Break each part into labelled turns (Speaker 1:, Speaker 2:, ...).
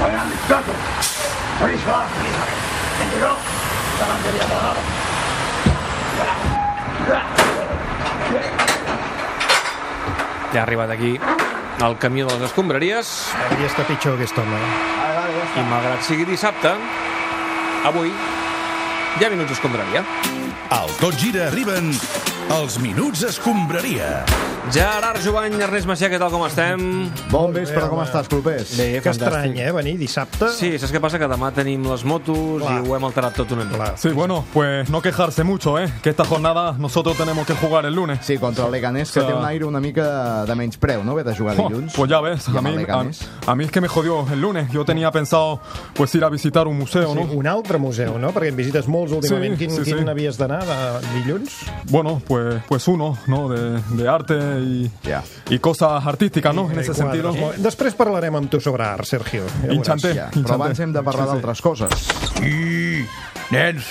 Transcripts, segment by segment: Speaker 1: Bayan diktatör. Polis var. Polis var. Bende yok. Yalan geliyor bana.
Speaker 2: Ja ha arribat aquí el camió de les escombraries
Speaker 3: Hauria estat pitjor aquesta home. eh?
Speaker 2: i malgrat sigui dissabte, avui hi ha minuts escombraria.
Speaker 4: Al Tot Gira arriben els Minuts Escombraria.
Speaker 2: Gerard Jovany, Ernest Macià, què tal com estem?
Speaker 5: Bon vespre,
Speaker 3: home.
Speaker 5: com estàs, clubers?
Speaker 2: Bé,
Speaker 3: Que estrany, eh? Venir dissabte.
Speaker 2: Sí, saps què passa? Que demà tenim les motos
Speaker 3: Clar.
Speaker 2: i ho hem alterat tot una mica.
Speaker 3: Clar.
Speaker 6: Sí, bueno, pues no quejarse mucho, ¿eh? Que esta jornada nosotros tenemos que jugar el lunes.
Speaker 5: Sí, contra el Leganés, que
Speaker 6: Sí.
Speaker 5: té un aire una mica de, de menys preu, no? Haver de jugar
Speaker 6: Jo,
Speaker 5: dilluns.
Speaker 6: Pues ya ves,
Speaker 5: I
Speaker 6: a
Speaker 5: amb
Speaker 6: mí,
Speaker 5: el
Speaker 6: a,
Speaker 5: Leganés.
Speaker 6: a mí es que me jodió el lunes. Yo tenía pensado pues ir a visitar un museo,
Speaker 3: Sí,
Speaker 6: ¿no?
Speaker 3: un altre museu, no? Perquè en visites molts últimament.
Speaker 6: Sí,
Speaker 3: quin,
Speaker 6: sí, sí.
Speaker 3: quin havies d'anar de dilluns?
Speaker 6: Bueno, pues, pues uno, ¿no? De, de arte y,
Speaker 5: Ya.
Speaker 6: y cosas artísticas, Ah, ¿no? En ese sentido.
Speaker 3: Quadres. Eh, Després parlarem amb tu sobre art, Sergio. Ja veuràs.
Speaker 6: Inchanté.
Speaker 5: Ja, però abans hem de parlar d'altres coses.
Speaker 7: I, nens,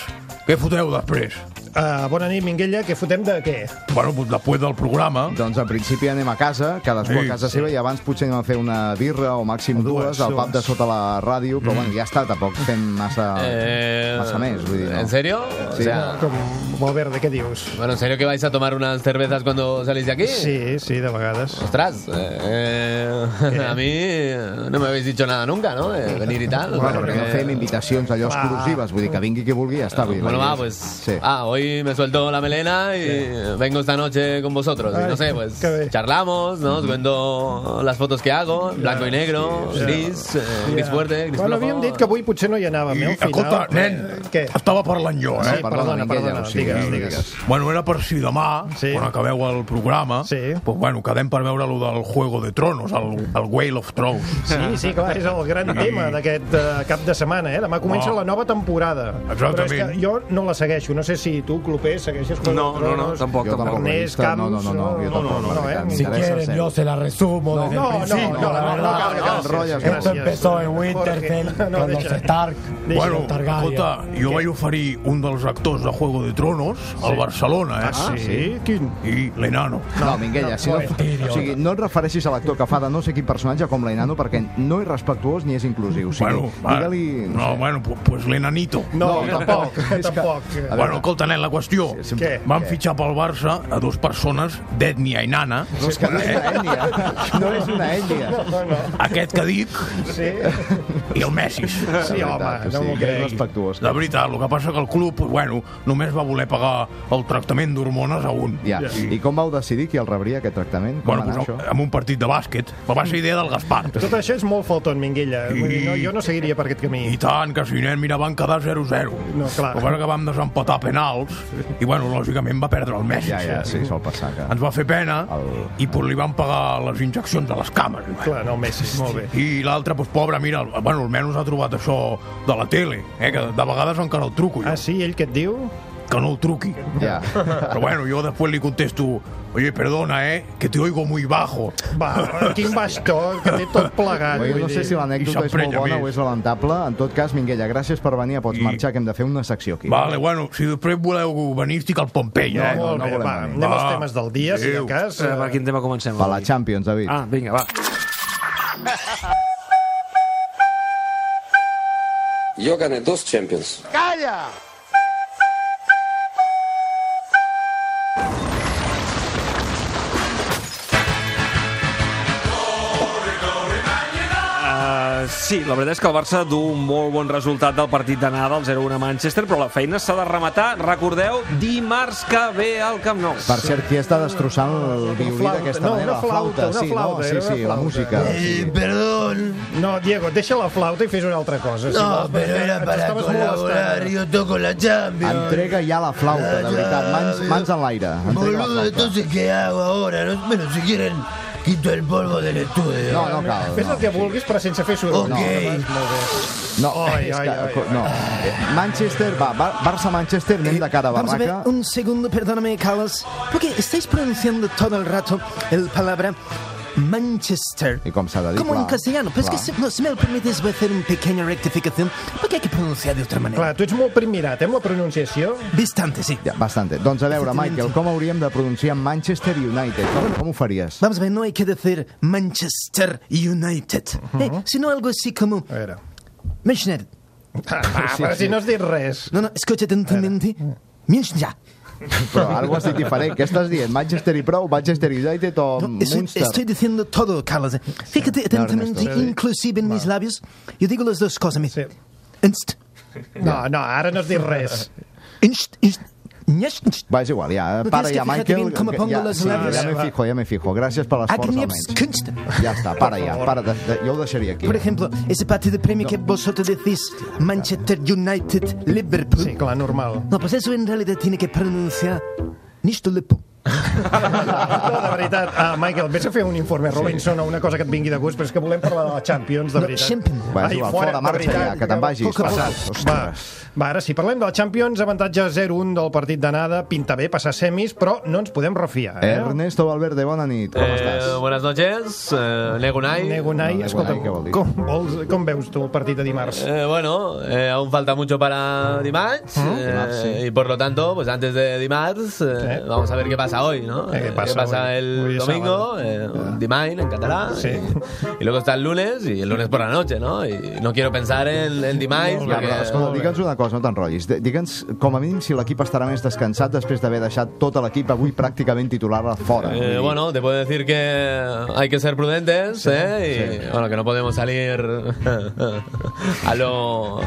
Speaker 7: què foteu després?
Speaker 3: Ah, bona nit, Minguella. Què fotem de què?
Speaker 7: Bueno, doncs després del programa... Eh,
Speaker 5: Doncs al principi anem a casa, cadascú
Speaker 7: Sí,
Speaker 5: a casa seva, i abans potser anem a fer una birra o màxim
Speaker 3: dues,
Speaker 5: dues al pub
Speaker 3: dues.
Speaker 5: de sota la ràdio, però bueno, ja està, tampoc fem massa,
Speaker 8: Eh,
Speaker 5: massa més, vull dir, no?
Speaker 8: ¿En serio?
Speaker 5: Sí.
Speaker 8: O sea,
Speaker 3: Com, Valverde, què dius?
Speaker 8: bueno, ¿en serio que vais a tomar unas cervezas cuando salís de aquí?
Speaker 3: Sí, sí, de vegades.
Speaker 8: Ostras, eh, eh, a mí eh, no me habéis dicho nada nunca, ¿no? De venir y tal. eh?
Speaker 5: Bueno,
Speaker 8: porque-
Speaker 5: perquè no fem invitacions allò exclusives, vull dir que vingui qui vulgui, ja està. Vull dir,
Speaker 8: Bueno,
Speaker 5: la
Speaker 8: va,
Speaker 5: idea és-
Speaker 8: pues.
Speaker 5: Sí.
Speaker 8: Ah, hoy me suelto la melena y eh, vengo esta noche con vosotros. Y
Speaker 3: Ay,
Speaker 8: no sé, pues
Speaker 3: qué bien.
Speaker 8: charlamos, ¿no? Os cuento las fotos que hago, blanco y negro, gris, eh, gris fuerte, gris
Speaker 3: Bueno,
Speaker 8: flojo.
Speaker 3: havíem dit que avui potser no hi anàvem,
Speaker 7: I,
Speaker 3: eh, al final.
Speaker 7: escolta, nen,
Speaker 3: Eh,
Speaker 7: què?
Speaker 3: Què?
Speaker 7: estava parlant jo, eh?
Speaker 3: Sí, perdona,
Speaker 5: Minguella,
Speaker 3: perdona,
Speaker 5: o sigui,
Speaker 3: digues, digues.
Speaker 7: Bueno, era per si demà,
Speaker 3: Sí.
Speaker 7: quan acabeu el programa,
Speaker 3: Sí.
Speaker 7: pues bueno, quedem per veure lo del Juego de Tronos, el, el Whale of Thrones.
Speaker 3: Sí, sí, clar, és el gran tema d'aquest eh, cap de setmana, eh? Demà comença
Speaker 7: Oh.
Speaker 3: la nova temporada.
Speaker 7: Exactament.
Speaker 3: Però és que jo no la segueixo, no sé si tu, Clopé, segueixes Juego
Speaker 2: No,
Speaker 3: de
Speaker 2: no,
Speaker 3: Tronos.
Speaker 2: no, tampoc,
Speaker 5: Jo tampoc.
Speaker 2: tampoc.
Speaker 3: Ernest
Speaker 5: No,
Speaker 3: Camps...
Speaker 5: no, no, no, jo tampoc, la veritat,
Speaker 3: eh?
Speaker 5: Si Interesa quieren, cero. yo
Speaker 9: se la resumo
Speaker 3: desde el principio, la verdad.
Speaker 5: No, que enrotlles,
Speaker 3: Esto
Speaker 5: no.
Speaker 3: empezó en Winterfell con los Stark,
Speaker 7: Bueno, escolta, jo vaig oferir un dels actors de Juego de Tronos al Barcelona, eh?
Speaker 3: Ah, sí? Quin?
Speaker 7: I l'enano.
Speaker 5: No, Minguella, si no, o sigui, no et refereixis a l'actor que fa de no sé quin personatge com l'Enano perquè no és respectuós ni és inclusiu. O sigui,
Speaker 7: Bueno, va.
Speaker 5: digue-li...
Speaker 7: No, bueno, pu- pues l'enanito.
Speaker 3: No,
Speaker 5: No,
Speaker 3: tampoc,
Speaker 5: és que-
Speaker 3: tampoc.
Speaker 5: A veure,
Speaker 7: Bueno, escolta, nen, la qüestió.
Speaker 5: Sí, sí.
Speaker 3: Què?
Speaker 7: Van fitxar pel Barça a dos persones d'ètnia Eh, i nana.
Speaker 5: No és que no és una ètnia. No és una ètnia.
Speaker 3: No, no,
Speaker 7: Aquest que dic
Speaker 3: sí.
Speaker 7: i el Messi.
Speaker 3: Sí,
Speaker 5: La
Speaker 3: home,
Speaker 5: veritat,
Speaker 3: no
Speaker 5: o sigui,
Speaker 3: m'ho
Speaker 5: que és
Speaker 3: crec.
Speaker 5: respectuós.
Speaker 7: La veritat, el que passa que el club, bueno, només va voler pagar el tractament d'hormones a un.
Speaker 5: Ja. I com vau decidir qui el rebria, aquest tractament? Com
Speaker 7: Bueno,
Speaker 5: va anar
Speaker 7: pues,
Speaker 5: això?
Speaker 7: amb un partit de bàsquet. Però va ser idea del Gaspar.
Speaker 3: Tot això és molt falton, Minguella. eh? Vull dir, no, jo no seguiria per aquest camí.
Speaker 7: I tant, que si nen, mira, van quedar 0-0.
Speaker 3: No, clar.
Speaker 7: El que passa que vam desempatar penals i, bueno, lògicament va perdre el Messi.
Speaker 5: Ja, ja, sí, sol passar que...
Speaker 7: Ens va fer pena
Speaker 5: El-
Speaker 7: i pues, li van pagar les injeccions a les cames.
Speaker 3: Clar, no, el Messi, molt bé.
Speaker 7: I l'altre, doncs, pobre, mira, el- bueno, almenys ha trobat això de la tele, eh, que de vegades encara el truco jo,
Speaker 3: Ah, sí? Ell què et diu?
Speaker 7: que no el truqui.
Speaker 5: Ja.
Speaker 7: Però bueno, jo després li contesto, oye, perdona, eh, que te oigo muy bajo.
Speaker 3: Va, quin bastó, que té tot plegat.
Speaker 5: Oi,
Speaker 3: Ah, vull
Speaker 5: no sé
Speaker 3: dir.
Speaker 5: si l'anècdota és molt
Speaker 7: s'emprenya
Speaker 5: bona
Speaker 7: més.
Speaker 5: o és lamentable. En tot cas, Minguella, gràcies per venir a Pots
Speaker 7: I-
Speaker 5: Marxar, que hem de fer una secció aquí.
Speaker 7: Vale, bueno, si després voleu venir, estic al Pompei, eh?
Speaker 3: Molt
Speaker 5: no
Speaker 3: bé,
Speaker 5: volem
Speaker 3: va,
Speaker 5: venir.
Speaker 3: anem als
Speaker 7: Va.
Speaker 3: temes del dia, si de
Speaker 7: Adéu.
Speaker 3: cas.
Speaker 2: Eh, per quin tema comencem?
Speaker 5: Per la
Speaker 2: avui?
Speaker 5: Champions, David.
Speaker 2: Ah, vinga, va.
Speaker 10: Yo gané dos Champions.
Speaker 2: Uh, sí, la veritat és que el Barça du un molt bon resultat del partit d'anada, el 0-1 a Manchester, però la feina s'ha de rematar, recordeu, dimarts que ve al Camp Nou.
Speaker 5: Per cert, qui està destrossant el violí
Speaker 3: flauta.
Speaker 5: d'aquesta
Speaker 3: No, una
Speaker 5: manera?
Speaker 3: flauta, una
Speaker 5: sí,
Speaker 3: flauta,
Speaker 5: no?
Speaker 3: era
Speaker 5: Sí,
Speaker 3: una
Speaker 5: sí, la
Speaker 3: flauta. Eh,
Speaker 5: música. Sí.
Speaker 7: perdón.
Speaker 3: No, Diego, deixa la flauta i fes una altra cosa. si vols, perquè ens estaves molestant.
Speaker 7: yo toco la Champions.
Speaker 5: Entrega ja la flauta, de veritat. Mans, mans en l'aire. Entrega la flauta.
Speaker 7: ¿qué hago ahora? No, bueno, si quieren, quito el polvo del estudio.
Speaker 5: No, no cal.
Speaker 3: Fes el
Speaker 5: No.
Speaker 3: que vulguis, però sense fer soroll.
Speaker 7: Ok.
Speaker 3: Molt bé.
Speaker 5: No,
Speaker 3: Ai,
Speaker 5: és
Speaker 3: ai,
Speaker 5: que,
Speaker 3: ai,
Speaker 5: no. Manchester, va, Bar- Barça-Manchester, anem de cara a
Speaker 9: Vamos a ver,
Speaker 5: barraca.
Speaker 9: un segundo, perdóname, Carlos, porque estáis pronunciando todo el rato el palabra Manchester.
Speaker 5: ¿Y cómo se ha de decir?
Speaker 9: Como en
Speaker 5: Claro,
Speaker 9: castellano. Pero es que,
Speaker 5: claro.
Speaker 9: si, no, si me lo permites, voy a hacer una pequeña rectificación porque hay que pronunciar de otra manera.
Speaker 3: Clar, tu ets molt primirat, eh, amb la pronunciació.
Speaker 9: Bastante, sí.
Speaker 5: Ja, bastante. Doncs a veure, Michael, com hauríem de pronunciar Manchester United? Com ho faries?
Speaker 9: Vamos a ver, no hay que decir Manchester United, eh, sino algo así como
Speaker 3: Uh-huh. A veure.
Speaker 9: Manchester.
Speaker 3: Ah, però si no has dit res.
Speaker 9: No, no, escucha atentamente. Manchester.
Speaker 5: Però algo has dit diferent. Què estàs dient? Manchester i prou? Manchester United o
Speaker 9: No, estoy,
Speaker 5: Munster?
Speaker 9: estoy diciendo todo, Carlos. eh. Fíjate
Speaker 5: No, Ernesto.
Speaker 9: atentamente,
Speaker 5: Sí, sí.
Speaker 9: inclusive en mis labios. Yo digo las dos cosas. mira.
Speaker 3: Sí.
Speaker 9: Inst,
Speaker 3: No, Ah, no, ara no has dit res.
Speaker 9: inst, inst, ñest, inst.
Speaker 5: Va, és igual, ja.
Speaker 9: No
Speaker 5: Para
Speaker 9: tens que
Speaker 5: ja,
Speaker 9: fijarte
Speaker 5: Michael.
Speaker 9: bien cómo
Speaker 5: que-
Speaker 9: pongo
Speaker 5: ja,
Speaker 9: los
Speaker 5: sí,
Speaker 9: labios.
Speaker 5: ja me fijo, ja me fijo. Gràcies per l'esforç,
Speaker 9: Agnieps,
Speaker 5: almenys.
Speaker 9: Kunst.
Speaker 5: Ja està, para ja, para. de- de- Jo ho deixaria aquí.
Speaker 9: Por ejemplo, ese partido de premio que vosotros decís Manchester United Liverpool.
Speaker 3: Sí, clar, normal.
Speaker 9: No, pues eso en realidad tiene que pronunciar Nisto Liverpool.
Speaker 3: No, de veritat, uh, Michael, vés a fer un informe Robinson o una cosa que et vingui de gust, però és que volem parlar de la Champions, de
Speaker 9: No,
Speaker 3: veritat.
Speaker 9: Champions.
Speaker 5: Va, és igual, fora,
Speaker 3: de
Speaker 5: marxa
Speaker 3: veritat,
Speaker 5: ja, que te'n vagis,
Speaker 3: Poc a poc.
Speaker 5: passat. Ostres.
Speaker 3: Va, va, ara sí, parlem de la Champions, avantatge 0-1 del partit d'anada, pinta bé, passar semis, però no ens podem refiar. Eh?
Speaker 5: Ernesto Valverde, bona nit. Com
Speaker 8: Eh,
Speaker 5: estàs?
Speaker 8: buenas noches, eh, Negunai.
Speaker 3: Negunai,
Speaker 5: No,
Speaker 3: escolta,
Speaker 5: Negunai, què vol dir?
Speaker 3: com, vols, com veus tu el partit de dimarts?
Speaker 8: Eh, bueno, eh, aún falta mucho para Dimash
Speaker 3: Mm.
Speaker 8: eh,
Speaker 5: Dimarts, sí.
Speaker 8: y por lo tanto, pues antes de Dimash, eh,
Speaker 3: Eh.
Speaker 8: vamos a ver qué pasa hoy, ¿no?
Speaker 3: Eh, ¿qué pasa hoy?
Speaker 8: el
Speaker 3: Hoy es
Speaker 8: domingo,
Speaker 3: sábado.
Speaker 8: eh, Dimash en catalán,
Speaker 3: Sí.
Speaker 8: y, y luego está el lunes y el lunes por la noche, ¿no? Y no quiero pensar en, en Dimash
Speaker 5: Ja,
Speaker 8: porque- eh,
Speaker 5: però, escolta, digue'ns una cosa, no t'enrotllis. De- Digue'ns, com a mínim, si l'equip estarà més descansat després d'haver deixat tot l'equip avui pràcticament titular a fora. Vull
Speaker 8: Eh,
Speaker 5: dir,
Speaker 8: bueno, te puedo decir que hay que ser prudentes, ¿eh? Y, bueno, que no podemos salir a lo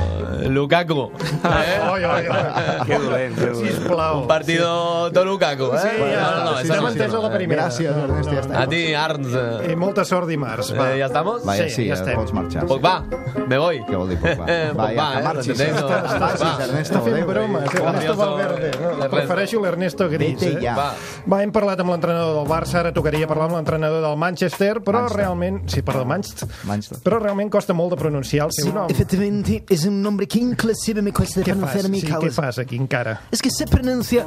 Speaker 8: Lukaku. ¿eh?
Speaker 3: Oi, oi, oi.
Speaker 2: Que dolent, que dolent.
Speaker 3: Sisplau.
Speaker 8: Un partido todo Lukaku, ¿eh?
Speaker 3: ja, sí,
Speaker 8: eso
Speaker 3: ja
Speaker 8: no. eh,
Speaker 3: m'entens a la primera.
Speaker 5: Gràcies, Ernest, ja està.
Speaker 8: A ti, Arns. eh,
Speaker 3: I molta sort dimarts, va.
Speaker 8: eh, ¿Ya estamos?
Speaker 5: Vaya,
Speaker 3: Sí,
Speaker 5: sí,
Speaker 3: ja
Speaker 5: ja
Speaker 3: estem.
Speaker 5: pots marxar.
Speaker 8: Pogba, me voy.
Speaker 5: Què vol dir Pogba?
Speaker 8: Eh,
Speaker 5: Va, ja,
Speaker 8: Pogba,
Speaker 5: que
Speaker 8: eh,
Speaker 5: marxis.
Speaker 8: t'entenc,
Speaker 5: Estàs-
Speaker 8: Pogba.
Speaker 5: estàs, Ernesto,
Speaker 3: Està fent
Speaker 5: adéu,
Speaker 3: bromes, eh,
Speaker 5: adéu.
Speaker 3: Ernesto
Speaker 8: Ernesto,
Speaker 3: Valverde. No,
Speaker 8: Ernesto.
Speaker 3: Eh, prefereixo l'Ernesto Gris.
Speaker 5: Vete
Speaker 3: Eh?
Speaker 5: ja.
Speaker 8: Va.
Speaker 3: Va, hem parlat amb l'entrenador del Barça, ara tocaria parlar amb l'entrenador del Manchester, però
Speaker 5: Manchester.
Speaker 3: realment... Sí, perdó, Manchester.
Speaker 5: Manchester.
Speaker 3: Però realment costa molt de pronunciar el seu nom.
Speaker 9: eh, Efectivamente, es un nombre que inclusive me cuesta
Speaker 3: Què fas?
Speaker 9: pronunciar a mí,
Speaker 3: Sí, què
Speaker 9: Carlos.
Speaker 3: fas aquí encara?
Speaker 9: Es que se pronuncia...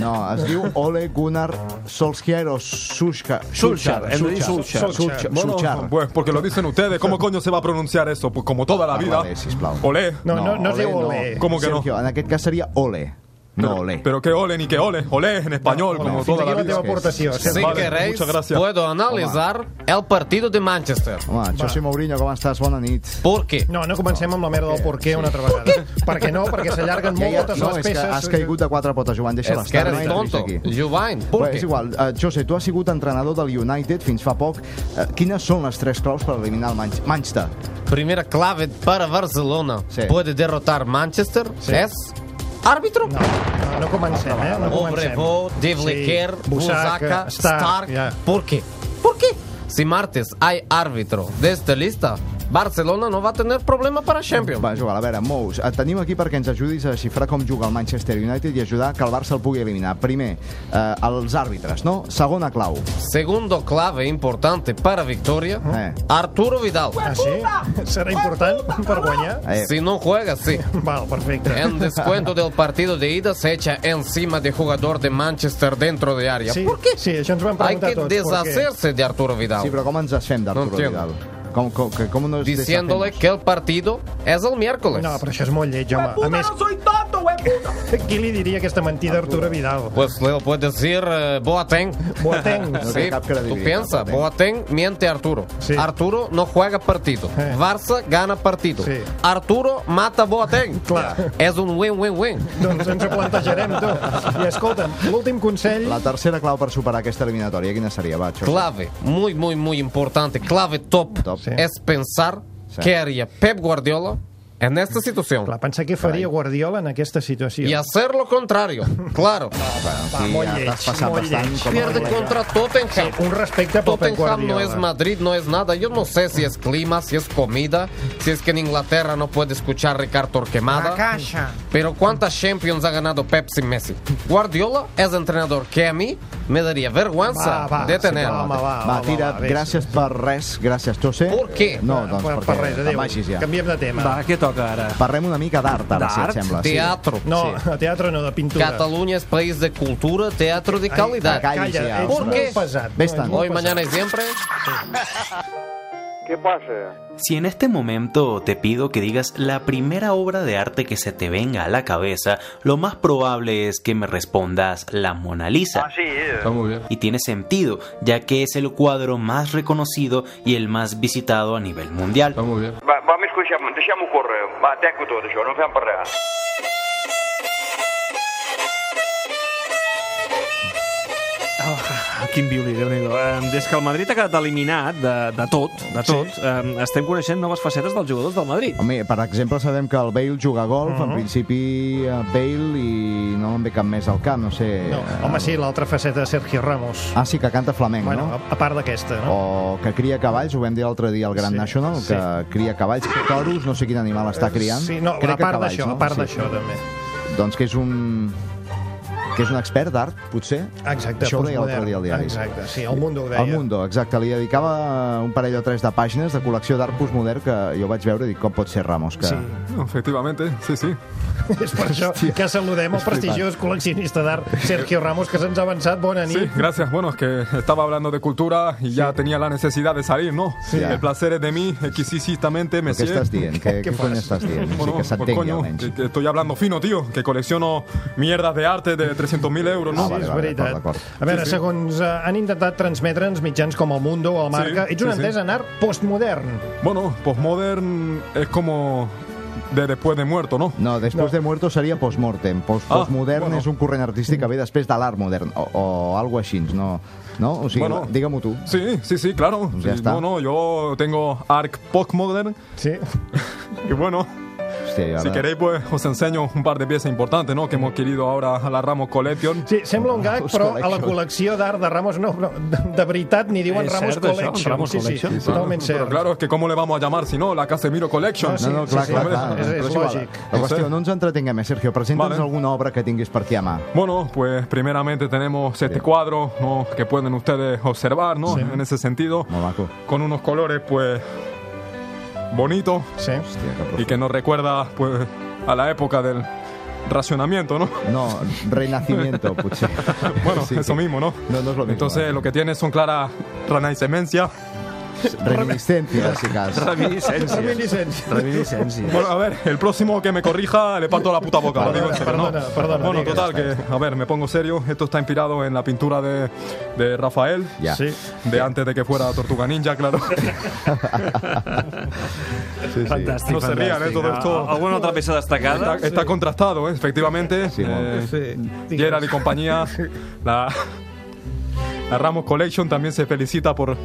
Speaker 5: No, es diu Ole Gunnar Solskjaer o Solskjaer.
Speaker 2: Solskjaer, hem de dir Solskjaer.
Speaker 5: Solskjaer.
Speaker 3: Bueno,
Speaker 5: Solskjaer.
Speaker 6: Pues porque lo dicen ustedes, ¿cómo coño se va a pronunciar eso? Pues como
Speaker 3: Ah,
Speaker 6: toda la vida.
Speaker 5: Vale, sisplau.
Speaker 6: Olé.
Speaker 3: No, no, no es diu
Speaker 5: no.
Speaker 3: Ole.
Speaker 6: ¿Cómo que no?
Speaker 5: Sergio, en aquest cas seria Ole, no Ole.
Speaker 6: Pero que ole ni que ole. Olé en español,
Speaker 3: Hola,
Speaker 6: como
Speaker 3: fins
Speaker 6: toda
Speaker 3: aquí
Speaker 6: la
Speaker 3: la
Speaker 6: vida.
Speaker 3: teva aportació.
Speaker 6: Sí.
Speaker 3: Sí.
Speaker 6: Vale, muchas gracias.
Speaker 8: puedo analizar el partido de Manchester.
Speaker 5: Home, José Mourinho, com estàs? Bona nit.
Speaker 8: ¿Por qué?
Speaker 3: No, no comencem amb la merda del porquer una altra vegada. Per què no? Perquè s'allarguen
Speaker 5: Ja, ja,
Speaker 3: moltes
Speaker 5: no,
Speaker 3: les
Speaker 5: és que
Speaker 3: peces.
Speaker 5: has caigut de quatre potes, Joan, deixa-la
Speaker 8: es que
Speaker 5: estar.
Speaker 8: eres
Speaker 5: no
Speaker 8: tonto.
Speaker 5: entrevistis aquí.
Speaker 8: Juvain, ¿por
Speaker 5: Bé,
Speaker 8: qué?
Speaker 5: és igual. Uh, José, tu has sigut entrenador del United fins fa poc. Uh, quines són les tres claus per eliminar el Manch Manchester?
Speaker 8: Primera clave para Barcelona.
Speaker 5: Sí.
Speaker 8: ¿Puede derrotar Manchester? ¿Es árbitro?
Speaker 3: No, no, no comencem, eh? No comencem.
Speaker 8: Obrevo, Devlequer,
Speaker 3: Sí,
Speaker 8: Busaka, Stark.
Speaker 3: ja.
Speaker 8: ¿Por qué? ¿Por qué? Si martes hay árbitro de esta lista, Barcelona no va a tener problema para Champions.
Speaker 5: Va, és igual. A veure, Mous, et tenim aquí perquè ens ajudis a xifrar com juga el Manchester United i ajudar que el Barça el pugui eliminar. Primer, eh, els àrbitres, no? Segona clau.
Speaker 8: Segundo clave importante para victoria,
Speaker 5: Eh.
Speaker 8: Arturo Vidal.
Speaker 3: Ah, sí? Serà important per guanyar?
Speaker 5: Eh,
Speaker 8: Si no juega, sí.
Speaker 3: Val, perfecte.
Speaker 8: En descuento del partido de ida se echa encima de jugador de Manchester dentro de área.
Speaker 3: Sí,
Speaker 8: ¿Por qué?
Speaker 3: sí, això ens ho van
Speaker 8: Hay
Speaker 3: preguntar
Speaker 8: que
Speaker 3: tots.
Speaker 8: deshacerse de Arturo Vidal.
Speaker 5: Sí, però com ens desfem d'Arturo
Speaker 8: No
Speaker 5: no
Speaker 8: entiendo.
Speaker 5: Vidal? Com, com, que, com nos
Speaker 8: diciéndole que el partido es el miércoles.
Speaker 3: No, però això és molt lleig, home. A més,
Speaker 1: soy tonto, hueputa.
Speaker 3: qui li diria aquesta mentida a Arturo Vidal?
Speaker 8: Pues le puedes decir eh, Boateng.
Speaker 3: Boateng.
Speaker 5: No
Speaker 8: Sí,
Speaker 5: tiene cap credibilidad,
Speaker 8: tú piensas, Boateng miente a Arturo.
Speaker 3: Sí.
Speaker 8: Arturo no juega partido.
Speaker 3: Eh.
Speaker 8: Barça gana partido.
Speaker 3: Sí.
Speaker 8: Arturo mata a Boateng.
Speaker 3: Clar.
Speaker 8: Es un win-win-win.
Speaker 3: Doncs ens ho plantejarem, tu. I escolta'm, l'últim consell...
Speaker 5: La tercera clau per superar aquesta eliminatòria, quina seria? Va, Xo.
Speaker 8: Clave, muy, muy, muy importante, clave top,
Speaker 5: Top. Sí.
Speaker 8: es pensar
Speaker 5: Sí.
Speaker 8: qué haría Pep Guardiola é en esta situación.
Speaker 3: Clar, pensa què faria Guardiola en aquesta situació.
Speaker 8: Y hacer lo contrario, claro.
Speaker 3: Va,
Speaker 5: Sí,
Speaker 3: molt
Speaker 5: ja
Speaker 3: lleig,
Speaker 5: t'has passat
Speaker 3: molt
Speaker 5: bastant
Speaker 3: lleig.
Speaker 5: com a
Speaker 8: Pierde
Speaker 5: col·lega.
Speaker 8: contra Tottenham.
Speaker 3: Un respecte pel
Speaker 8: Tottenham
Speaker 3: Pep Guardiola.
Speaker 8: no es Madrid, no es nada. Yo no sé si es clima, si es comida, si es que en Inglaterra no puede escuchar Ricardo Torquemada.
Speaker 1: Caixa.
Speaker 8: Pero ¿cuántas Champions ha ganado Pepsi Messi? Guardiola es entrenador que a mí me daría vergüenza
Speaker 3: Va, va,
Speaker 8: de
Speaker 3: sí,
Speaker 8: tener.
Speaker 3: va, home, va,
Speaker 5: Va,
Speaker 3: home,
Speaker 5: tira,
Speaker 3: va, va,
Speaker 5: gràcies per res, gràcies, José.
Speaker 8: ¿Por qué?
Speaker 5: No,
Speaker 3: Per,
Speaker 5: doncs
Speaker 3: per
Speaker 5: perquè
Speaker 3: res, adéu.
Speaker 5: te'n vagis ja.
Speaker 3: Canviem de tema.
Speaker 2: Va, que toca ara?
Speaker 5: Parlem una mica d'art, ara, si
Speaker 2: D'art?
Speaker 5: et sembla. sí.
Speaker 8: Teatro.
Speaker 3: No, teatre no, de pintura.
Speaker 8: Cataluña es país de cultura, teatro de calidad.
Speaker 5: calla,
Speaker 3: Calla,
Speaker 5: sí,
Speaker 3: ets
Speaker 8: ¿Por
Speaker 3: molt
Speaker 8: qué?
Speaker 3: pesat.
Speaker 5: Vés-te'n.
Speaker 3: ets molt
Speaker 8: Hoy,
Speaker 3: pesat.
Speaker 8: mañana y siempre.
Speaker 10: ¿Qué pasa?
Speaker 11: Si en este momento te pido que digas la primera obra de arte que se te venga a la cabeza, lo más probable es que me respondas la Mona Lisa.
Speaker 10: Está
Speaker 6: muy bien.
Speaker 11: Y tiene sentido, ya que es el cuadro más reconocido y el más visitado a nivel mundial.
Speaker 6: Está muy bien.
Speaker 10: Va, va, mi escucha'm, deixem-ho córrer. Va, tanco tot això, no en fem per res.
Speaker 2: Ah, Quin violí, déu nhi eh, Des que el Madrid ha quedat eliminat de, de tot, de tot eh, estem coneixent noves facetes dels jugadors del Madrid.
Speaker 5: Home, per exemple, sabem que el Bale juga a golf,
Speaker 3: Uh-huh.
Speaker 5: en principi eh, Bale i no em ve cap més al cap, no sé...
Speaker 3: No, home, sí, l'altra faceta de Sergio Ramos.
Speaker 5: Ah, sí, que canta flamenc,
Speaker 3: Bueno,
Speaker 5: no?
Speaker 3: a, a part d'aquesta, no?
Speaker 5: O que cria cavalls, ho vam dir l'altre dia al Grand
Speaker 3: Sí, Eh,
Speaker 5: National, que cria cavalls, que toros, no sé quin animal està criant.
Speaker 3: Sí, no,
Speaker 5: Crec
Speaker 3: a
Speaker 5: que
Speaker 3: part
Speaker 5: cavalls,
Speaker 3: d'això,
Speaker 5: no?
Speaker 3: a part
Speaker 5: Sí.
Speaker 3: d'això, també.
Speaker 5: Doncs que és un... que és un expert d'art, potser?
Speaker 3: Exacte,
Speaker 5: Això ho deia
Speaker 3: postmodern.
Speaker 5: l'altre dia al diari.
Speaker 3: Exacte, sí, el Mundo ho deia.
Speaker 5: El Mundo, exacte, li dedicava un parell o tres de pàgines de col·lecció d'art postmodern que jo vaig veure i dic, com pot ser Ramos, que...
Speaker 3: Sí.
Speaker 6: No, Efectivamente, sí, sí.
Speaker 3: És per això que saludem el prestigiós col·leccionista d'art Sergio Ramos, que se'ns ha avançat. Bona
Speaker 6: Sí,
Speaker 3: nit.
Speaker 6: gracias. Bueno, es que estaba hablando de cultura y ya tenía la necesidad de salir, ¿no?
Speaker 5: Sí.
Speaker 6: El placer es de mí, exquisitamente me
Speaker 5: Què
Speaker 6: sigue.
Speaker 5: estàs dient? Què, què cony estàs dient?
Speaker 6: Bueno,
Speaker 5: sí que
Speaker 6: pues
Speaker 5: s'entengui,
Speaker 6: coño,
Speaker 5: almenys.
Speaker 6: que, que estoy hablando fino, tío, que colecciono mierdas de arte de 300.000 euros, ¿no?
Speaker 5: Ah, vale,
Speaker 3: És
Speaker 5: vale,
Speaker 3: veritat.
Speaker 5: d'acord, d'acord.
Speaker 3: A veure,
Speaker 6: Sí, sí.
Speaker 3: segons eh, han intentat transmetre'ns mitjans com el Mundo o el Marca,
Speaker 6: Sí,
Speaker 3: ets un
Speaker 6: sí, sí.
Speaker 3: entès en art postmodern.
Speaker 6: Bueno, postmodern es como de después de muerto, ¿no?
Speaker 5: No, després no. de muerto seria postmortem. Post
Speaker 6: Ah,
Speaker 5: postmodern
Speaker 6: bueno.
Speaker 5: és un corrent artístic que ve després de l'art modern, o, o algo així, no? no? O sigui,
Speaker 6: Bueno.
Speaker 5: digue-m'ho tu.
Speaker 6: Sí, sí, sí, claro.
Speaker 5: Pues ya
Speaker 6: Sí,
Speaker 5: está.
Speaker 6: Bueno, yo tengo Arc Postmodern
Speaker 3: Sí.
Speaker 6: y bueno,
Speaker 5: Hòstia, i ara...
Speaker 6: si queréis pues os enseño un par de piezas importantes, ¿no? Que hemos adquirido ahora a la Ramos Collection.
Speaker 3: Sí, sembla un gag,
Speaker 5: Ramos
Speaker 3: però a la
Speaker 5: Collection.
Speaker 3: col·lecció d'art de Ramos no, no, de- de veritat ni diuen
Speaker 2: És
Speaker 3: Ramos
Speaker 2: Eh, cert, això?
Speaker 3: Collection.
Speaker 2: Ramos
Speaker 3: sí,
Speaker 2: Collection?
Speaker 3: Sí, sí, totalment
Speaker 6: Pero
Speaker 3: cert.
Speaker 6: claro, es que ¿cómo le vamos a llamar si no? La Casemiro Collection.
Speaker 3: No, sí,
Speaker 5: No, no, clar,
Speaker 3: sí,
Speaker 5: clar,
Speaker 3: sí, és-
Speaker 5: clar.
Speaker 3: és
Speaker 5: Però igual.
Speaker 3: lògic.
Speaker 5: La qüestió, no ens entretinguem, eh, Sergio. Presenta'ns
Speaker 6: Vale.
Speaker 5: alguna obra que tinguis per aquí a mà.
Speaker 6: Bueno, pues primeramente tenemos este cuadro ¿no? que pueden ustedes observar, ¿no? En ese sentido,
Speaker 5: Molt maco.
Speaker 6: con unos colores pues bonitos
Speaker 3: Sí.
Speaker 5: Hòstia, que
Speaker 6: y
Speaker 5: profe.
Speaker 6: que nos recuerda pues a la época del racionamiento, ¿no?
Speaker 5: No, renacimiento, potser.
Speaker 6: Bueno,
Speaker 5: Sí,
Speaker 6: eso
Speaker 5: sí.
Speaker 6: mismo, ¿no?
Speaker 5: No, no es lo mismo. ¿eh?
Speaker 6: Entonces, lo que tiene son claras renaicemencia.
Speaker 5: Reminiscencia, si cas.
Speaker 2: Reminiscències.
Speaker 3: Reminiscència.
Speaker 2: Reminiscències.
Speaker 6: Bueno, a ver, el próximo que me corrija le parto la puta boca, lo digo en serio, ¿no?
Speaker 3: Perdona, perdona,
Speaker 6: Bueno,
Speaker 3: diga,
Speaker 6: total, que, a ver, me pongo serio. Esto está inspirado en la pintura de, de Rafael,
Speaker 5: Ja.
Speaker 3: Sí.
Speaker 6: de antes de que fuera Tortuga Ninja, claro.
Speaker 5: sí, sí.
Speaker 2: Fantàstic,
Speaker 6: No se
Speaker 2: fantàstic.
Speaker 6: rían, eh, todo esto.
Speaker 2: Ah, Alguna altra peça destacada?
Speaker 6: Está, está contrastado, ¿eh? efectivamente.
Speaker 5: Sí, bueno.
Speaker 6: Eh, Gerard y compañía. La, la Ramos Collection también se felicita por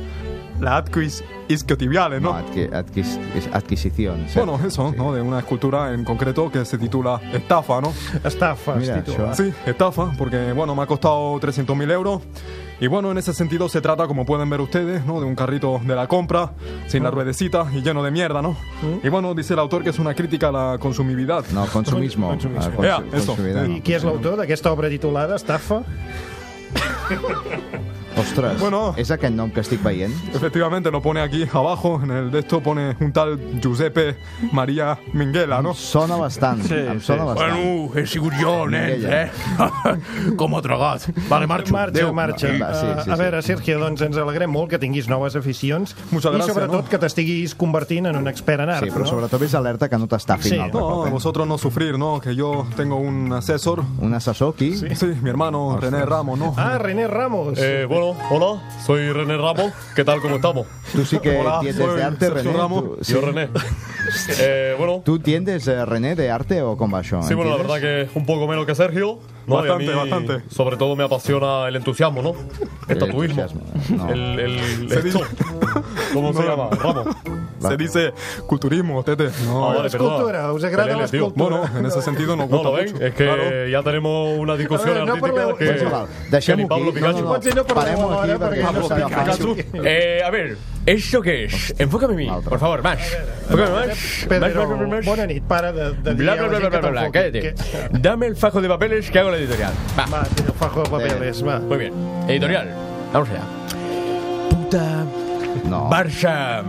Speaker 6: la Atquis Isquiotibiales,
Speaker 5: No,
Speaker 6: ¿no?
Speaker 5: adqui adquis adquisición. sí.
Speaker 6: Bueno, eso, ¿no? De una escultura en concreto que se titula Estafa, ¿no?
Speaker 3: Estafa,
Speaker 5: Mira,
Speaker 3: es titular.
Speaker 5: això.
Speaker 6: Sí, estafa, porque bueno, me ha costado 300.000 euros. Y bueno, en ese sentido se trata, como pueden ver ustedes, ¿no? de un carrito de la compra, sin
Speaker 5: Ah.
Speaker 6: la ruedecita y lleno de mierda, ¿no? Y bueno, dice el autor que es una crítica a la consumibilidad.
Speaker 5: Mm. No, consumismo.
Speaker 3: Consumismo.
Speaker 5: Ah, consu-
Speaker 6: Ea, eso.
Speaker 5: consumidor.
Speaker 3: I qui és l'autor d'aquesta obra titulada Estafa?
Speaker 5: Ostres,
Speaker 6: Bueno.
Speaker 5: és aquest nom que estic veient?
Speaker 6: Efectivamente, lo pone aquí abajo, en el de esto pone un tal Giuseppe María Minguela, ¿no?
Speaker 5: Sona bastant, sí, em sona sí. bastant.
Speaker 7: Bueno, he sigut jo, nen, eh? Com ha tragat. Vale, marxo.
Speaker 3: Marxa,
Speaker 7: Adéu.
Speaker 3: marxa.
Speaker 5: Va, sí, sí,
Speaker 3: Eh, a
Speaker 5: sí.
Speaker 3: veure, Sergio, doncs ens alegrem molt que tinguis noves aficions
Speaker 6: Moltes gràcies,
Speaker 3: i sobretot
Speaker 6: no?
Speaker 3: que t'estiguis convertint en un expert en art.
Speaker 5: Sí, però
Speaker 3: no?
Speaker 5: sobretot és alerta que no t'estafin
Speaker 3: Sí.
Speaker 5: sí. altre
Speaker 6: No,
Speaker 5: cop.
Speaker 6: a
Speaker 5: eh?
Speaker 6: vosotros no sufrir, ¿no? Que yo tengo un asesor.
Speaker 5: Un assessor aquí? Sí.
Speaker 6: Sí, mi hermano René Ramos, ¿no?
Speaker 3: Ah, René Ramos.
Speaker 12: Eh, bueno, hola, soy René Ramos. ¿Qué tal? ¿Cómo estamos?
Speaker 5: Tu sí que
Speaker 6: Hola,
Speaker 5: entiendes
Speaker 6: soy
Speaker 5: de arte,
Speaker 6: Sergio
Speaker 5: René.
Speaker 6: Ramos.
Speaker 5: Tu, sí.
Speaker 12: Yo René. Eh, bueno,
Speaker 5: ¿Tú entiendes, eh, René, de arte o cómo va eso?
Speaker 12: sí, bueno, la
Speaker 5: ¿Entiendes?
Speaker 12: verdad que un poco menos que Sergio. ¿no? Y a
Speaker 6: Bastante,
Speaker 12: mí,
Speaker 6: bastante.
Speaker 12: Sobre todo me apasiona el entusiasmo, ¿no? El tatuismo.
Speaker 5: entusiasmo, no.
Speaker 12: El, el,
Speaker 6: Se
Speaker 12: esto.
Speaker 6: dice-
Speaker 12: ¿Cómo se
Speaker 6: No,
Speaker 12: llama?
Speaker 6: no.
Speaker 12: Ramos.
Speaker 6: Se dice culturismo, tete. No,
Speaker 12: Ah, vale, perdona.
Speaker 3: Escultura, ¿os agrada
Speaker 12: Pelele,
Speaker 3: la
Speaker 12: tío.
Speaker 3: escultura?
Speaker 6: Bueno, en ese sentido nos
Speaker 12: No,
Speaker 6: gusta
Speaker 12: lo ven,
Speaker 6: mucho.
Speaker 12: es que
Speaker 6: Claro.
Speaker 12: ya tenemos una discusión
Speaker 3: A ver, no
Speaker 12: artística
Speaker 3: parleu-
Speaker 12: que,
Speaker 5: Doncs igual,
Speaker 12: que
Speaker 5: deixem-ho
Speaker 12: ni Pablo
Speaker 5: aquí. No,
Speaker 12: Picasso.
Speaker 5: no, no.
Speaker 3: Potser no parlem
Speaker 5: Parem-ho aquí
Speaker 3: ara,
Speaker 5: perquè
Speaker 3: perquè
Speaker 5: no
Speaker 3: no
Speaker 5: s'ha de
Speaker 3: s'agafa.
Speaker 5: fer.
Speaker 12: Eh, a ver, ¿eso qué es? Enfócame a mí, por favor, más. Enfócame más. Más, más, más,
Speaker 3: Pedro,
Speaker 12: más.
Speaker 3: bona nit, para de, de dir
Speaker 12: Bla,
Speaker 3: a
Speaker 12: bla,
Speaker 3: la
Speaker 12: bla, bla,
Speaker 3: gent que
Speaker 12: bla, bla,
Speaker 3: t'enfoqui.
Speaker 12: cállate.
Speaker 3: Que-
Speaker 12: Dame el fajo de papeles que hago la editorial. Va. Eh,
Speaker 3: Va, tira el fajo de papeles, va.
Speaker 12: Muy bien. Editorial. Vamos allá. Puta
Speaker 5: No.
Speaker 12: Barça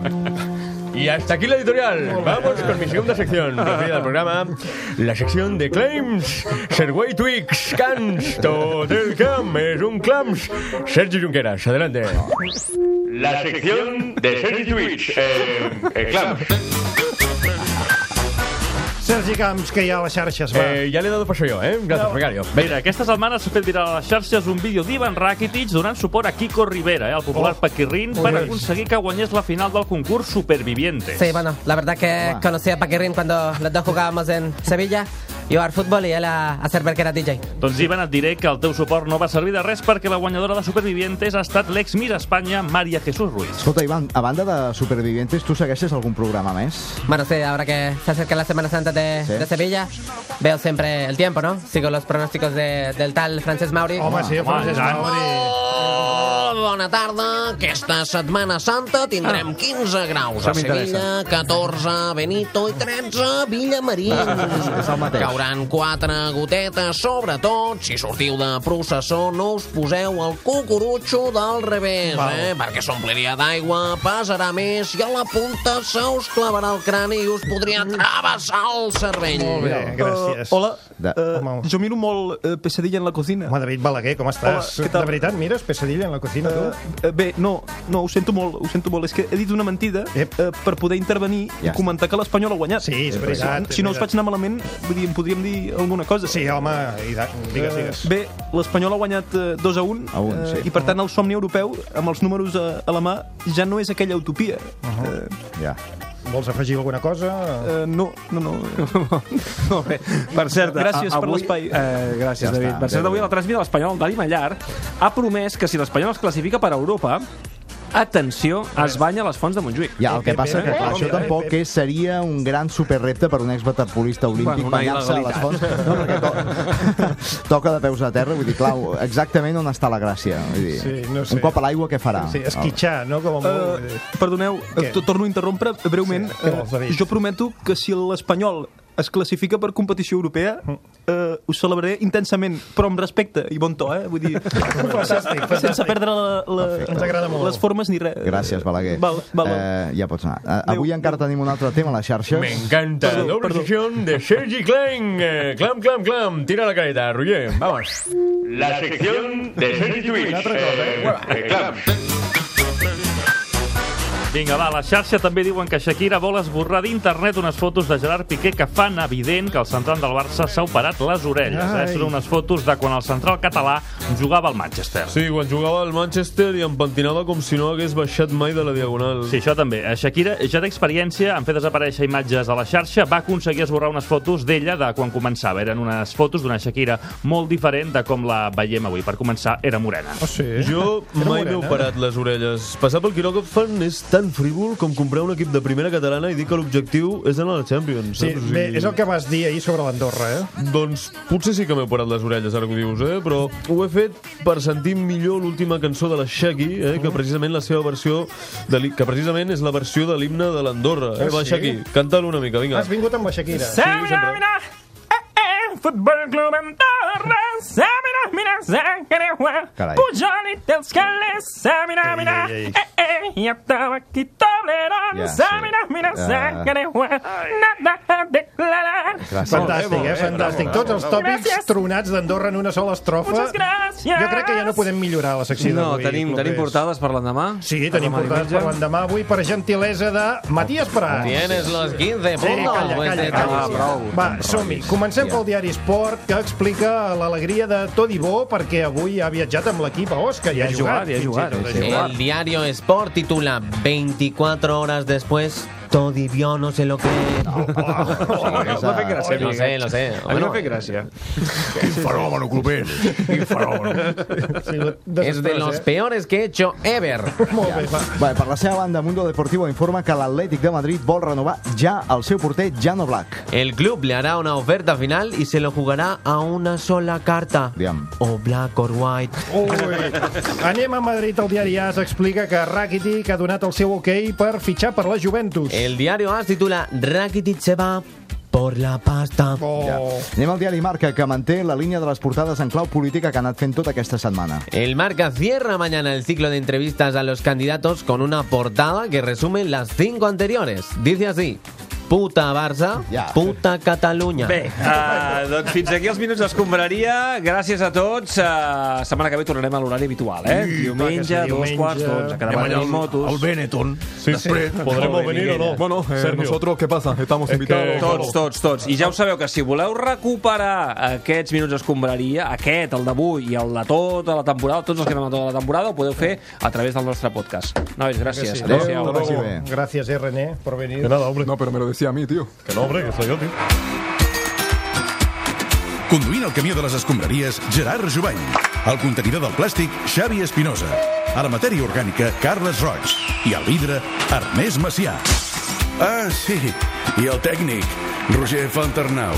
Speaker 12: Y hasta aquí la editorial. Vamos con mi segunda sección preferida del programa. La sección de claims. Serway Twix, Cans, tot el camp és un clams. Sergi Junqueras, adelante.
Speaker 10: La sección de Sergi Twitch. Eh, eh, claro.
Speaker 3: Sergi Camps, que hi ha a les xarxes, va.
Speaker 12: Eh, ja l'he dado paso jo, eh? Gràcies, Becario.
Speaker 13: Mira, aquesta setmana s'ha fet viral a les xarxes un vídeo d'Ivan Rakitic donant suport a Kiko Rivera, eh, el popular
Speaker 14: Oh.
Speaker 13: paquirrín,
Speaker 14: Muy
Speaker 13: per
Speaker 14: bien.
Speaker 13: aconseguir que guanyés la final del concurs Supervivientes.
Speaker 14: Sí, bueno, la verdad que conocí a Paquirrin cuando los dos jugábamos en Sevilla. Yo al fútbol y él a, a hacer ver que era DJ.
Speaker 13: Doncs Ivan, et diré que el teu suport no va servir de res perquè la guanyadora de Supervivientes ha estat l'ex Miss Espanya, Maria Jesús Ruiz.
Speaker 5: Escolta, Ivan, a banda de Supervivientes, tu segueixes algun programa més?
Speaker 14: Bueno, sí, ahora que se acerca la Semana Santa de,
Speaker 5: Sí.
Speaker 14: de Sevilla, veo siempre el tiempo, ¿no? Sigo los pronósticos de- del tal Francesc Mauri.
Speaker 3: Home, sí, Francesc Mauri.
Speaker 15: Oh, Bona tarda. Aquesta Setmana Santa tindrem 15 graus
Speaker 14: Això
Speaker 15: a Sevilla, 14 a Benito i 13 a Villamarín.
Speaker 14: És el mateix.
Speaker 15: Cauran 4 gotetes, sobretot si sortiu de processó no us poseu el cucurutxo del revés,
Speaker 16: Val.
Speaker 15: eh? perquè s'ompliria d'aigua, pesarà més i a la punta se us clavarà el crani i us podria travessar el cervell.
Speaker 3: Molt bé, gràcies.
Speaker 15: Eh,
Speaker 3: hola, uh, jo
Speaker 17: eh,
Speaker 3: miro molt uh, Pesadilla en la cocina. Home, David Balaguer, com estàs?
Speaker 17: Hola, què tal?
Speaker 3: de veritat, mires Pesadilla en la cocina, tu?
Speaker 17: Eh, bé, no, no, ho sento molt, ho sento molt. És que he dit una mentida eh, per poder intervenir
Speaker 3: Ja
Speaker 17: i comentar que l'Espanyol ha guanyat.
Speaker 3: Sí, és
Speaker 17: Eh,
Speaker 3: veritat,
Speaker 17: Si, si no
Speaker 3: és
Speaker 17: us faig anar malament, vull dir, em podríem dir alguna cosa.
Speaker 3: Sí, home, i da, digues, digues.
Speaker 17: Eh, bé, l'Espanyol ha guanyat eh, 2 a 1,
Speaker 5: A un, sí.
Speaker 17: i per tant el somni europeu, amb els números eh, a, a la mà, ja no és aquella utopia. Uh -huh.
Speaker 5: Ja.
Speaker 3: Uh-huh. Vols afegir alguna cosa?
Speaker 17: Eh, no, no, no. no bé.
Speaker 2: Per cert,
Speaker 17: Gràcies
Speaker 2: a,
Speaker 17: per
Speaker 2: avui,
Speaker 17: l'espai.
Speaker 2: Eh, gràcies,
Speaker 17: Ja
Speaker 2: ja David.
Speaker 17: està,
Speaker 2: per cert,
Speaker 17: bé,
Speaker 2: avui a la transmida de l'Espanyol, Dani Mallar ha promès que si l'Espanyol es classifica per Europa, atenció, es banya a les fonts de Montjuïc.
Speaker 5: Ja, el que passa que clar, això tampoc és, seria un gran superrepte per un exbatapolista olímpic
Speaker 2: Bueno, una
Speaker 5: banyar-se a les fonts.
Speaker 2: il·legalitat.
Speaker 5: No, perquè to toca de peus a terra, vull dir, clar, exactament on està la gràcia. Vull dir,
Speaker 3: Sí, no sé.
Speaker 5: Un cop a l'aigua, què farà?
Speaker 3: Sí, esquitxar, no? Com a molt...
Speaker 17: Eh, perdoneu, eh, to- torno a interrompre breument.
Speaker 3: què vols,
Speaker 17: Eh, jo prometo que si l'Espanyol es classifica per competició europea,
Speaker 3: Mm.
Speaker 17: eh, ho celebraré intensament, però amb respecte i bon to, eh? Vull dir,
Speaker 3: Fantàstic, fantàstic.
Speaker 17: sense perdre la,
Speaker 5: Ens
Speaker 17: la,
Speaker 5: agrada molt.
Speaker 17: les formes ni res.
Speaker 5: Gràcies, Balaguer.
Speaker 17: Val, val.
Speaker 5: Eh, ja pots anar. Eh, avui encara tenim un altre tema a les xarxes.
Speaker 12: M'encanta.
Speaker 5: Perdó,
Speaker 12: Doble sección de Sergi Klein. Eh, Clam, clam, clam. Tira la careta, Roger. Vamos.
Speaker 10: La sección de Sergi Twitch. Eh, eh, claro.
Speaker 13: Vinga, va, a la xarxa també diuen que Shakira vol esborrar d'internet unes fotos de Gerard Piqué que fan evident que el central del Barça s'ha operat les orelles. Eh?
Speaker 12: Ai.
Speaker 13: Són unes fotos de quan el central català jugava al Manchester.
Speaker 12: Sí, quan jugava al Manchester i em pentinava com si no hagués baixat mai de la diagonal.
Speaker 13: Sí, això també. Eh, Shakira ja té experiència en fer desaparèixer imatges a la xarxa. Va aconseguir esborrar unes fotos d'ella de quan començava. Eren unes fotos d'una Shakira molt diferent de com la veiem avui. Per començar, era morena.
Speaker 3: Oh, sí?
Speaker 12: Jo mai m'he
Speaker 13: morena.
Speaker 12: operat les orelles. Passar pel quirògrafan és tan frívol com comprar un equip de primera catalana i dir que l'objectiu és anar a la Champions.
Speaker 3: Sí,
Speaker 12: saps? O
Speaker 3: bé,
Speaker 12: sigui-
Speaker 3: és el que vas dir ahir sobre l'Andorra, eh?
Speaker 12: Doncs potser sí que m'he operat les orelles, ara que ho dius, eh? però ho he fet per sentir millor l'última cançó de la Shaggy, eh?
Speaker 3: Oh.
Speaker 12: que precisament la seva versió de l'hi- que precisament és la versió de l'himne de l'Andorra. Eh?
Speaker 3: Ah,
Speaker 12: Va,
Speaker 3: sí?
Speaker 12: Shaggy, canta-la una mica, vinga.
Speaker 3: Has vingut amb la Shakira.
Speaker 12: Sí, sempre.
Speaker 18: Futbol Eh, Club Eh, Andorra, Samina, mina, Sangreu,
Speaker 5: Carai.
Speaker 18: Pujol i dels calés, Samina, mina,
Speaker 5: Ei, ei, ei.
Speaker 18: eh, eh, i el tabac i
Speaker 5: Ja,
Speaker 18: Toblerone,
Speaker 5: sí.
Speaker 18: Samina, mina,
Speaker 5: Eh.
Speaker 18: Sangreu, nada a declarar.
Speaker 5: Gràcies.
Speaker 3: Fantàstic,
Speaker 5: Bravo,
Speaker 3: eh? Fantàstic.
Speaker 5: bravo,
Speaker 3: Tots els
Speaker 5: bravo.
Speaker 3: tòpics tronats d'Andorra en una sola estrofa.
Speaker 18: Moltes gràcies.
Speaker 3: Jo crec que ja no podem millorar la secció
Speaker 2: No,
Speaker 3: d'avui.
Speaker 2: tenim,
Speaker 3: propers.
Speaker 2: tenim portades per l'endemà?
Speaker 3: Sí, tenim portades per l'endemà avui per gentilesa de Matías Prat.
Speaker 15: Tienes los 15
Speaker 3: Sí,
Speaker 15: puntos,
Speaker 3: calla,
Speaker 15: pues,
Speaker 3: calla,
Speaker 15: de
Speaker 3: calla.
Speaker 15: prou.
Speaker 3: Va, som-hi. Comencem pel diari Esport, que explica l'alegria de Todibó, perquè avui ha viatjat amb l'equip a Osca i ha jugat. fins i tot, ha jugat.
Speaker 15: El diario Sport titula 24 horas después, Todibio no se lo cree.
Speaker 7: M'ha fet gràcia,
Speaker 15: Lo sé, lo sé.
Speaker 7: A mi m'ha
Speaker 15: Bueno,
Speaker 7: fet gràcia. Quin fenòmeno, clubers. Quin fenòmeno.
Speaker 15: es de los peores que he hecho ever.
Speaker 5: Bé, per la seva banda, Mundo Deportivo informa que l'Atlètic de Madrid vol renovar ja el seu porter Jano Black.
Speaker 15: El club le hará una oferta final y se lo jugará a una sola carta. O black or white.
Speaker 3: Ui. Anem a Madrid, el diari AS explica que Rakitic ha donat el seu ok per fitxar per la Juventus.
Speaker 15: El diario AS titula Rakitic se va
Speaker 19: por la pasta.
Speaker 3: Oh.
Speaker 5: Ja. Anem al diari Marca, que manté la línia de les portades en clau política que ha anat fent tota aquesta setmana.
Speaker 16: El Marca cierra mañana el ciclo de entrevistas a los candidatos con una portada que resume las cinco anteriores. Dice así. Puta Barça, puta Cataluña.
Speaker 2: Bé, uh, doncs fins aquí els minuts d'escombraria. Gràcies a tots. Uh, setmana que ve tornarem a l'horari habitual, eh?
Speaker 7: Sí, clar que sí,
Speaker 2: diumenge, dos
Speaker 7: diumenge.
Speaker 2: quarts d'onze. Cada
Speaker 7: Anem
Speaker 2: vegada
Speaker 7: allà
Speaker 2: tenim
Speaker 7: al-
Speaker 2: motos.
Speaker 7: al Benetton. Sí,
Speaker 2: Després
Speaker 7: sí.
Speaker 2: podremos
Speaker 7: Pobre venir o no.
Speaker 6: Bueno, eh,
Speaker 7: Sergio. eh,
Speaker 6: nosotros, ¿qué pasa? Estamos invitados.
Speaker 2: Tots, tots, tots. I ja ho sabeu que si voleu recuperar aquests minuts d'escombraria, aquest, el d'avui i el de tota la temporada, tots els que anem a tota la temporada, ho podeu fer a través del nostre podcast. Nois, gràcies.
Speaker 3: Adéu,
Speaker 2: Adéu-siau.
Speaker 3: hasta luego. Gracias, eh, René, por venir.
Speaker 6: Que nada, hombre. No, pero me lo decía a mí, tío.
Speaker 7: Que no, hombre, que soy yo, tío.
Speaker 4: Conduint el camió de les escombraries, Gerard Jubany. El contenidor del plàstic, Xavi Espinosa. A la matèria orgànica, Carles Roig. I al vidre, Ernest Macià. Ah, sí, i el tècnic, Roger Fontarnau.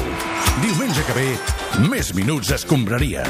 Speaker 4: Diumenge que ve, més minuts escombraria.